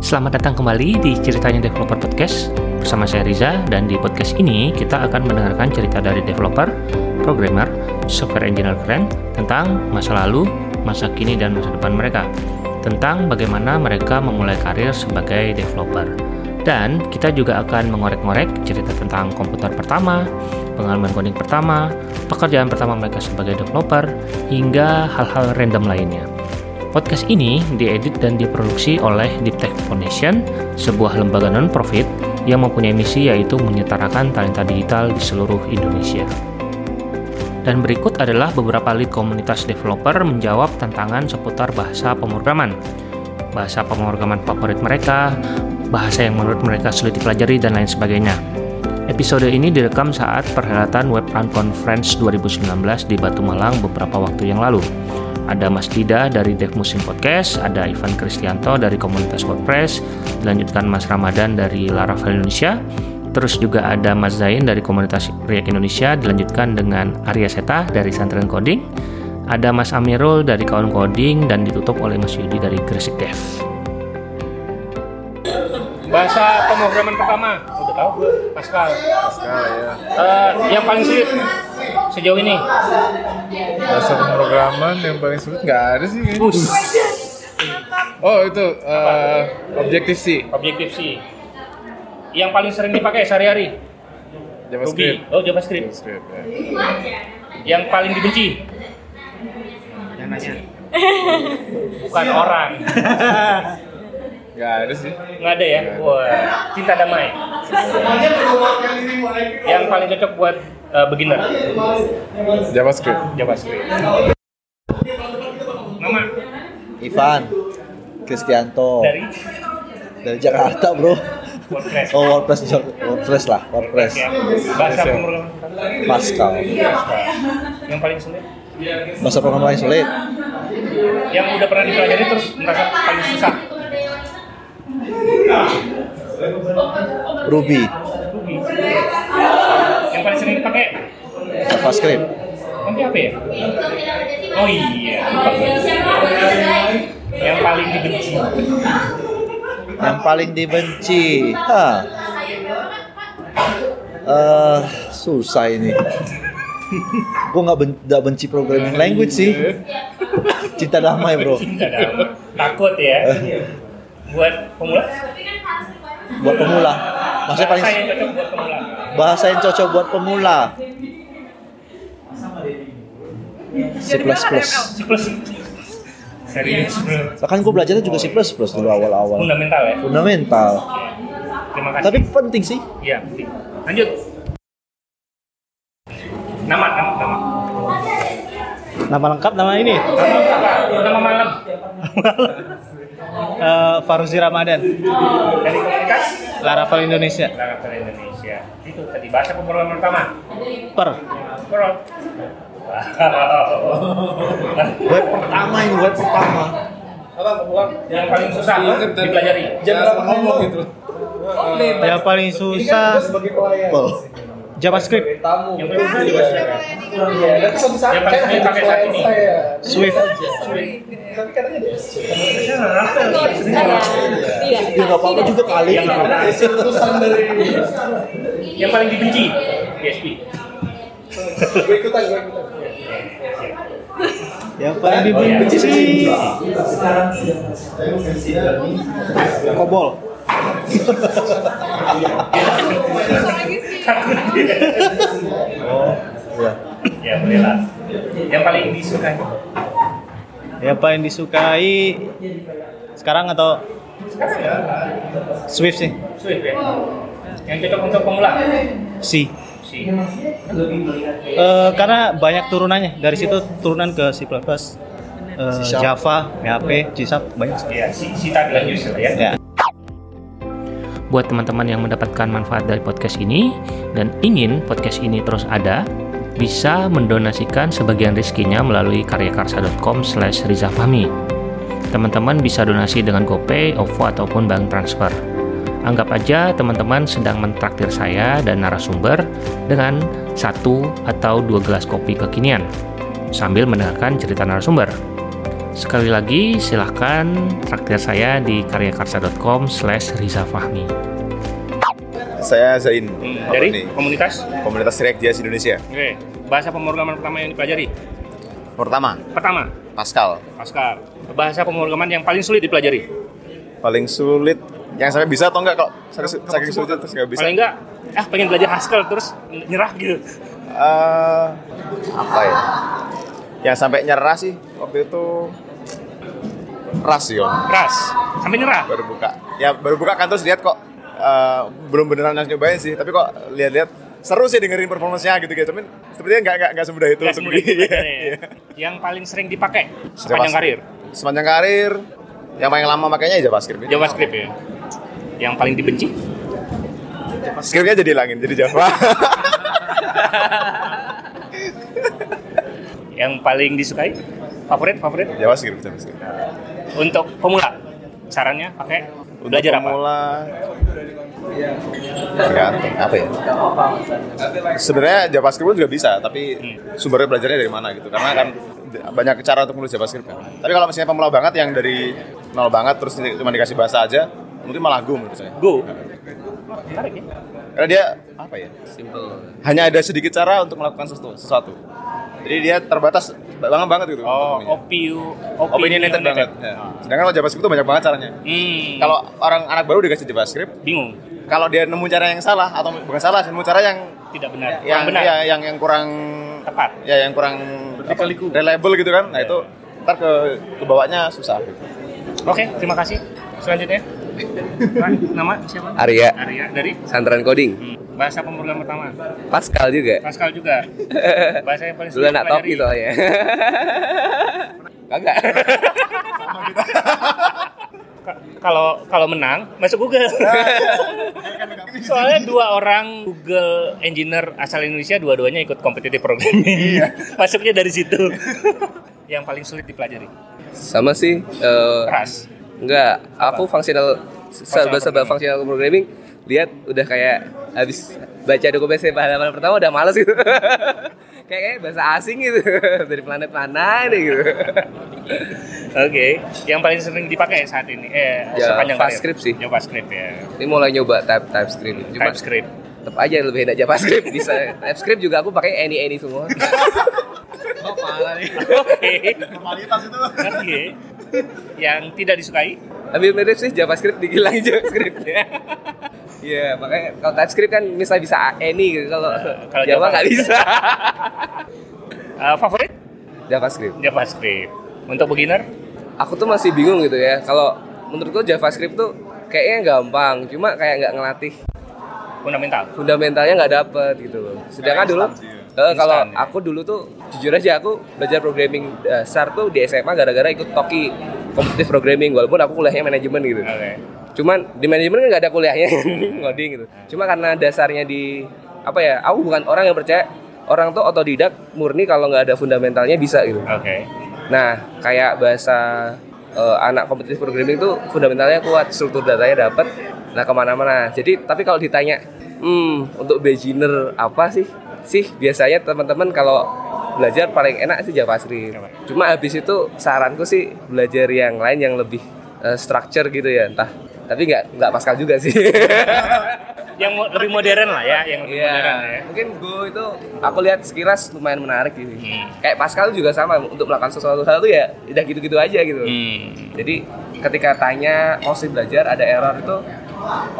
Selamat datang kembali di Ceritanya Developer Podcast bersama saya Riza dan di podcast ini kita akan mendengarkan cerita dari developer, programmer, software engineer keren tentang masa lalu, masa kini dan masa depan mereka. Tentang bagaimana mereka memulai karir sebagai developer. Dan kita juga akan mengorek-ngorek cerita tentang komputer pertama, pengalaman coding pertama, pekerjaan pertama mereka sebagai developer, hingga hal-hal random lainnya. Podcast ini diedit dan diproduksi oleh Deep Tech Foundation, sebuah lembaga non-profit yang mempunyai misi yaitu menyetarakan talenta digital di seluruh Indonesia. Dan berikut adalah beberapa lead komunitas developer menjawab tantangan seputar bahasa pemrograman. Bahasa pemrograman favorit mereka, bahasa yang menurut mereka sulit dipelajari, dan lain sebagainya. Episode ini direkam saat perhelatan Web Run Conference 2019 di Batu Malang beberapa waktu yang lalu ada Mas Dida dari Dev Musim Podcast, ada Ivan Kristianto dari komunitas WordPress, dilanjutkan Mas Ramadan dari Laravel Indonesia, terus juga ada Mas Zain dari komunitas React Indonesia, dilanjutkan dengan Arya Seta dari Santren Coding, ada Mas Amirul dari Kawan Coding, dan ditutup oleh Mas Yudi dari Gresik Dev. Bahasa pemrograman pertama, udah tahu gue, Pascal. Pascal ya. Eh, yang paling sulit sejauh ini. Bahasa pemrograman yang paling sulit nggak ada sih kayaknya. Bus, Oh itu eh objektif sih objektif sih. Yang paling sering dipakai sehari-hari. Ruby. JavaScript. Oh, JavaScript. JavaScript ya. Yang paling dibenci bukan orang. Nggak ada sih. Nggak ada ya. Wah, cinta damai. Yang paling cocok buat uh, beginner JavaScript. JavaScript. Nama Ivan Kristianto dari dari Jakarta bro WordPress. oh WordPress WordPress lah WordPress Ya, bahasa Yes, ya. pemrograman Pascal yang paling sulit, bahasa pemrograman yang sulit yang udah pernah dipelajari terus merasa paling susah. Ruby Yang paling sering dipakai JavaScript nanti apa ya? Oh iya. Yang paling dibenci yang paling dibenci Hah. Eh, susah ini gue nggak ben- nggak benci programming language sih cinta damai bro cinta damai. Takut ya. Eh. Buat pemula buat pemula maksudnya paling Bahasa yang cocok buat pemula. bahasa yang cocok buat pemula C++ C++. Serius bro. Bahkan gue Kan belajarnya juga C++ dulu awal-awal. Fundamental ya. Fundamental. Terima kasih. Tapi penting sih. Iya, penting. Lanjut. Nama, nama, nama. Nama lengkap nama ini Nama malam. Eh, Faruzi Ramadan, Dari komunitas Laravel Indonesia. Laravel Indonesia. Itu tadi bahasa pemrograman pertama. Per Pro. Wow. Web pertama ini web pertama. yang paling susah dipelajari ngomong gitu. yang paling kan susah Oh. Well, JavaScript, yang paling susah juga yang paling sering pakai saat ini Swift, Iya. ya nggak apa-apa juga kali. yang apa yang paling dibenci PSP Yang paling dibenci sih. Kobol. Iya. ya boleh lah yang paling disukai Ya, yang paling disukai sekarang atau Swift sih, Swift ya yang cocok untuk pemula C. si Eh, karena banyak turunannya dari situ turunan ke C++, eh, C-sharp. Java, PHP, C Sharp banyak. ya si si tadi lah user ya Ya. buat teman-teman yang mendapatkan manfaat dari podcast ini dan ingin podcast ini terus ada, bisa mendonasikan sebagian rezekinya melalui karyakarsa.com slash rizafahmi. Teman-teman bisa donasi dengan GoPay, OVO, ataupun bank transfer. Anggap aja teman-teman sedang mentraktir saya dan narasumber dengan satu atau dua gelas kopi kekinian sambil mendengarkan cerita narasumber. Sekali lagi, silahkan traktir saya di karyakarsa.com slash rizafahmi. Saya Zain. Hmm, Apa Dari nih? komunitas. Komunitas React Jazz Indonesia. Oke. Bahasa pemrograman pertama yang dipelajari. Pertama, Pertama, Pascal. Pascal. Bahasa pemrograman yang paling sulit dipelajari. Paling sulit yang saya bisa atau enggak kok? Saking saking sulit terus nggak bisa. Paling enggak, ah pengen belajar Haskell terus nyerah gitu. Eh, apa ya? Yang sampai nyerah sih waktu itu ras sih, Om. Keras, sampai nyerah. baru buka ya baru buka kan terus lihat kok eh, belum beneran harus nyobain sih tapi kok lihat-lihat seru sih dengerin performance-nya gitu gitu cuman sepertinya nggak nggak nggak semudah itu Nggak untuk semudah di- itu belajarnya ya. Iya. Yang paling sering dipakai JavaScript. sepanjang karir. sepanjang karir yang paling lama makanya ya JavaScript ini. JavaScript ya. Yang paling dibenci. Scriptnya jadi langit jadi Java Yang paling disukai. Favorit, favorit. JavaScript JavaScript Untuk pemula, sarannya pakai Untuk belajar apa? pemula tergantung apa ya sebenarnya JavaScript pun juga bisa tapi sumbernya belajarnya dari mana gitu karena kan d- banyak cara untuk menulis JavaScript kan tapi kalau misalnya pemula banget yang dari nol banget terus di- cuma dikasih bahasa aja mungkin malah go menurut saya Go. Menarik ya. karena dia apa ya hanya ada sedikit cara untuk melakukan sesuatu, sesuatu. jadi dia terbatas banget banget gitu Oh, opininnya. opiu, opinionated banget ya. sedangkan kalau JavaScript tuh banyak banget caranya Hmm, kalau kalau orang anak baru dikasih JavaScript bingung, kalau dia nemu cara yang salah atau bukan salah nemu cara yang tidak benar. yang Kurang benar. ya, yang yang kurang Tepat. ya yang kurang apa, reliable gitu kan nah itu ntar ke kebawanya susah Oke, terima kasih. Selanjutnya. Kan, nama siapa? Arya, Arya dari Santran Coding. Hmm, bahasa pemrograman pertama. Pascal juga. Pascal juga. Bahasa yang paling Dulu anak topi dipelajari. soalnya. Kagak. Ka- Kalau kalau menang masuk Ah, Google. iya. Soalnya dua orang Google engineer asal Indonesia dua-duanya ikut kompetitif programming. Iya. Masuknya dari situ. yang paling sulit dipelajari. Sama sih. eh, Keras. enggak, aku fungsional programming. sebab-sebab fungsional programming lihat udah kayak habis baca dokumen saya halaman pertama udah males gitu. kayak kayak bahasa asing gitu dari planet mana ini gitu. Oke, yang paling sering dipakai saat ini eh Ya, sepanjang karir? JavaScript sih. JavaScript ya. Ini mulai nyoba type TypeScript. Cuma TypeScript. tetap aja lebih enak JavaScript bisa. TypeScript juga aku pakai any any semua. oh, parah nih. Oke. formalitas itu Oke. Yang tidak disukai? Ambil mirip sih JavaScript digilang JavaScriptnya. Iya, makanya kalau TypeScript kan misalnya bisa any gitu. Kalau Nah, kalau Java Java. nggak bisa. Eh, favorit? JavaScript. JavaScript. Untuk beginner? Aku tuh masih bingung gitu ya. Kalau menurutku JavaScript tuh kayaknya gampang, cuma kayak nggak ngelatih Fundamental. fundamentalnya nggak dapet gitu loh. Sedangkan dulu eh, kalau aku dulu tuh jujur aja aku belajar programming eh, dasar tuh di SMA gara-gara ikut Toki kompetitif programming walaupun aku kuliahnya manajemen gitu. Oke. cuman di manajemen kan nggak ada kuliahnya ngoding gitu cuma karena dasarnya di apa ya aku bukan orang yang percaya orang tuh otodidak murni kalau nggak ada fundamentalnya bisa gitu Oke. nah kayak bahasa eh, anak kompetitif programming tuh fundamentalnya kuat struktur datanya dapat nah kemana-mana jadi tapi kalau ditanya hmm untuk beginner apa sih sih biasanya teman-teman kalau belajar paling enak sih JavaScript cuma habis itu saranku sih belajar yang lain yang lebih eh, structure gitu ya entah tapi nggak nggak Pascal juga sih Yang mo- lebih modern lah ya, yang lebih modern ya. Iya, mungkin Go itu aku lihat sekilas lumayan menarik gitu. Hmm. Kayak Pascal juga sama untuk melakukan sesuatu hal tuh ya udah gitu-gitu aja gitu. Hmm. Jadi ketika tanya mau sih belajar ada error itu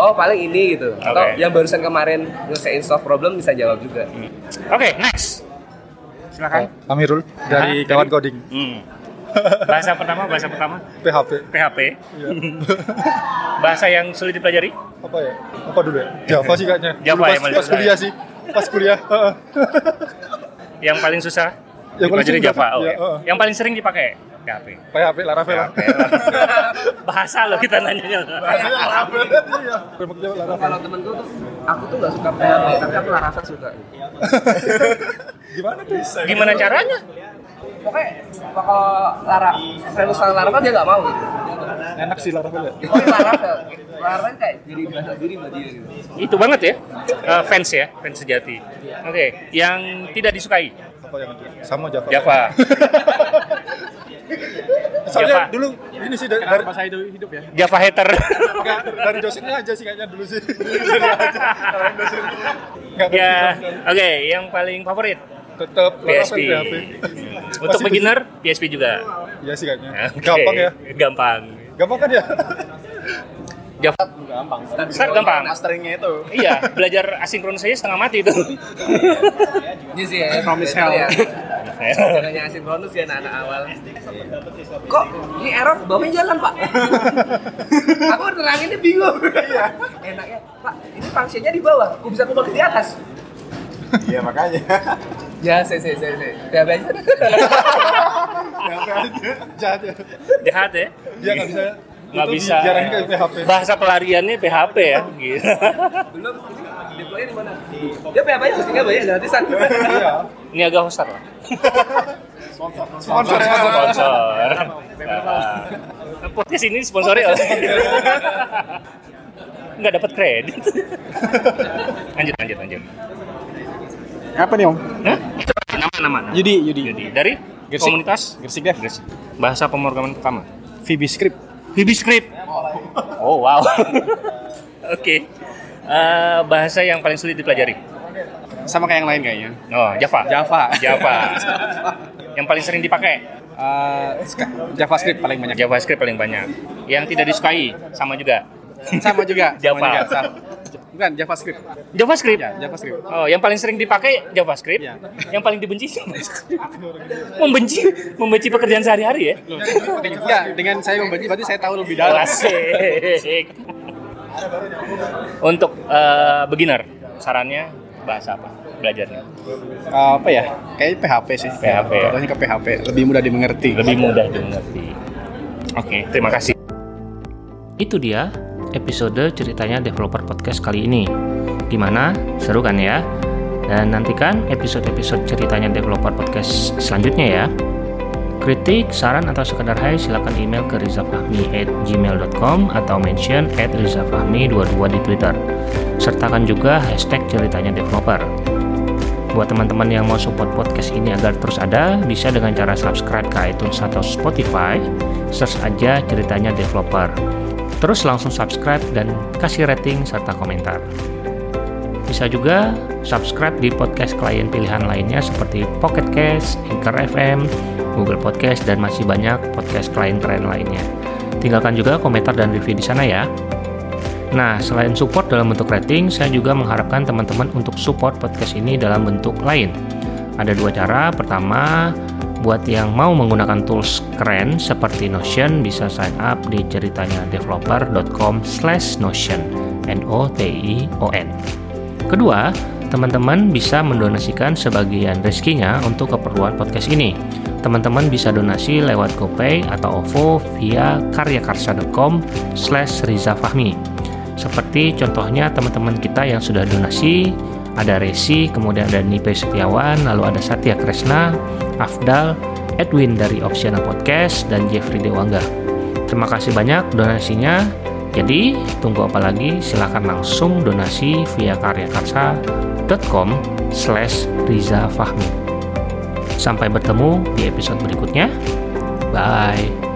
oh paling ini gitu. Atau Oke. yang barusan kemarin ngesein solve problem bisa jawab juga. Oke, next. Silakan. Amirul dari Hah? kawan coding Hmm. Bahasa pertama, bahasa pertama PHP PHP. bahasa yang sulit dipelajari? apa ya apa dulu ya Java sih kayaknya Java Dulu ya, pas, maksud pas saya. kuliah sih pas kuliah heeh. Yang paling susah? Yang paling dipelajari sering Java. dipakai, Oke. ya, heeh. Yang paling sering dipakai PHP. PHP Laravel lah bahasa loh kita nanyanya. Iya. Framework Java Laravel Kalau temenku tuh aku tuh nggak suka PHP tapi aku Laravel suka. gimana tuh Gimana caranya? Pokoknya kalau Lara Framework sama Laravel dia nggak mau gitu. enak sih Laravel ya Oh, Pokoknya Laravel, Laravel kayak jadi bahasa diri buat dia gitu. Itu banget ya. Eh, fans ya, fans sejati. Oke, yang tidak disukai apa yang itu sama Java Java. Soalnya Java. dulu ini sih dari, dari saya hidup ya. Java hater. dari dosennya aja sih kayaknya dulu sih. Dosennya aja. Kalian dosen. Nggak ada ya, dosen. oke, yang paling favorit Tetep PSP. Laravel, PHP. Untuk Masih beginner PSP juga. Iya sih kayaknya. Oke. Gampang ya. Gampang. Gampang kan ya? Java gampang. Start gampang. Masteringnya itu. iya, belajar asinkronus aja setengah mati itu. Ini sih ya. Promise hell. Ya. Jangannya asinkronus ya anak-anak awal. Kok ini error bawahnya jalan pak? aku neranginnya bingung. Iya. Enaknya pak ini fungsinya di bawah. Aku bisa kubah ke di atas. Iya makanya. Ya, saya, saya, saya, saya. Udah belajar. Jahat ya. Jahat ya. Dia nggak bisa. Nggak itu bisa. Diarahin ke PHP. Bahasa pelariannya PHP ya. Gitu. Belum. Ini deploy di mana? Ya, PHP nya hostingnya banyak gratisan. Iya. Ini agak hostar lah. Sponsor ya. Sponsor. Nah, Podcast ini sponsori oleh. Nggak dapat kredit. lanjut, lanjut, lanjut. Apa nih om? Hah? Nama, nama, nama. Yudi, Yudi. Jadi, dari Gersik. komunitas Gersik Dev. Gersik. bahasa pemrograman pertama. VB Script. VBScript. Oh wow. Oke. Eh, bahasa yang paling sulit dipelajari. Sama kayak yang lain kayaknya. Oh, Java. Java. Java. yang paling sering dipakai. JavaScript paling banyak. JavaScript paling banyak. Yang tidak disukai sama juga. Sama juga. sama Java. juga, sama. Bukan JavaScript. JavaScript. JavaScript. Oh, yang paling sering dipakai JavaScript. Ya. Yang paling dibenci JavaScript. membenci, membenci pekerjaan sehari-hari ya. Enggak, Iya, dengan saya membenci berarti saya tahu lebih dalam. Asik. Untuk eh, beginner, sarannya bahasa apa? Belajarnya. apa ya? Kayak PHP sih. PHP ya. Contohnya ke PHP, lebih mudah dimengerti. Lebih mudah dimengerti. Oke, terima kasih. Itu dia episode ceritanya developer podcast kali ini. Gimana? Seru kan ya? Dan nantikan episode-episode ceritanya developer podcast selanjutnya ya. Kritik, saran, atau sekedar hai silahkan email ke rizafahmi at gmail.com atau mention at rizafahmi22 di Twitter. Sertakan juga hashtag ceritanya developer. Buat teman-teman yang mau support podcast ini agar terus ada, bisa dengan cara subscribe ke iTunes atau Spotify, search aja ceritanya developer. Terus langsung subscribe dan kasih rating serta komentar. Bisa juga subscribe di podcast klien pilihan lainnya seperti Pocket Cast, Anchor FM, Google Podcast, dan masih banyak podcast klien keren lainnya. Tinggalkan juga komentar dan review di sana ya. Nah, selain support dalam bentuk rating, saya juga mengharapkan teman-teman untuk support podcast ini dalam bentuk lain. Ada dua cara. Pertama, buat yang mau menggunakan tools keren seperti Notion, bisa sign up di ceritanya developer.com slash Notion. N-O-T-I-O-N. Kedua, teman-teman bisa mendonasikan sebagian rezekinya untuk keperluan podcast ini. Teman-teman bisa donasi lewat GoPay atau OVO via karyakarsa.com slash rizafahmi. Seperti contohnya teman-teman kita yang sudah donasi, ada Resi, kemudian ada Nipe Setiawan, lalu ada Satya Kresna, Afdal, Edwin dari Optional Podcast, dan Jeffrey Dewangga. Terima kasih banyak donasinya. Jadi, tunggu apa lagi? Silahkan langsung donasi via karyakarsa.com slash Riza Fahmi. Sampai bertemu di episode berikutnya. Bye.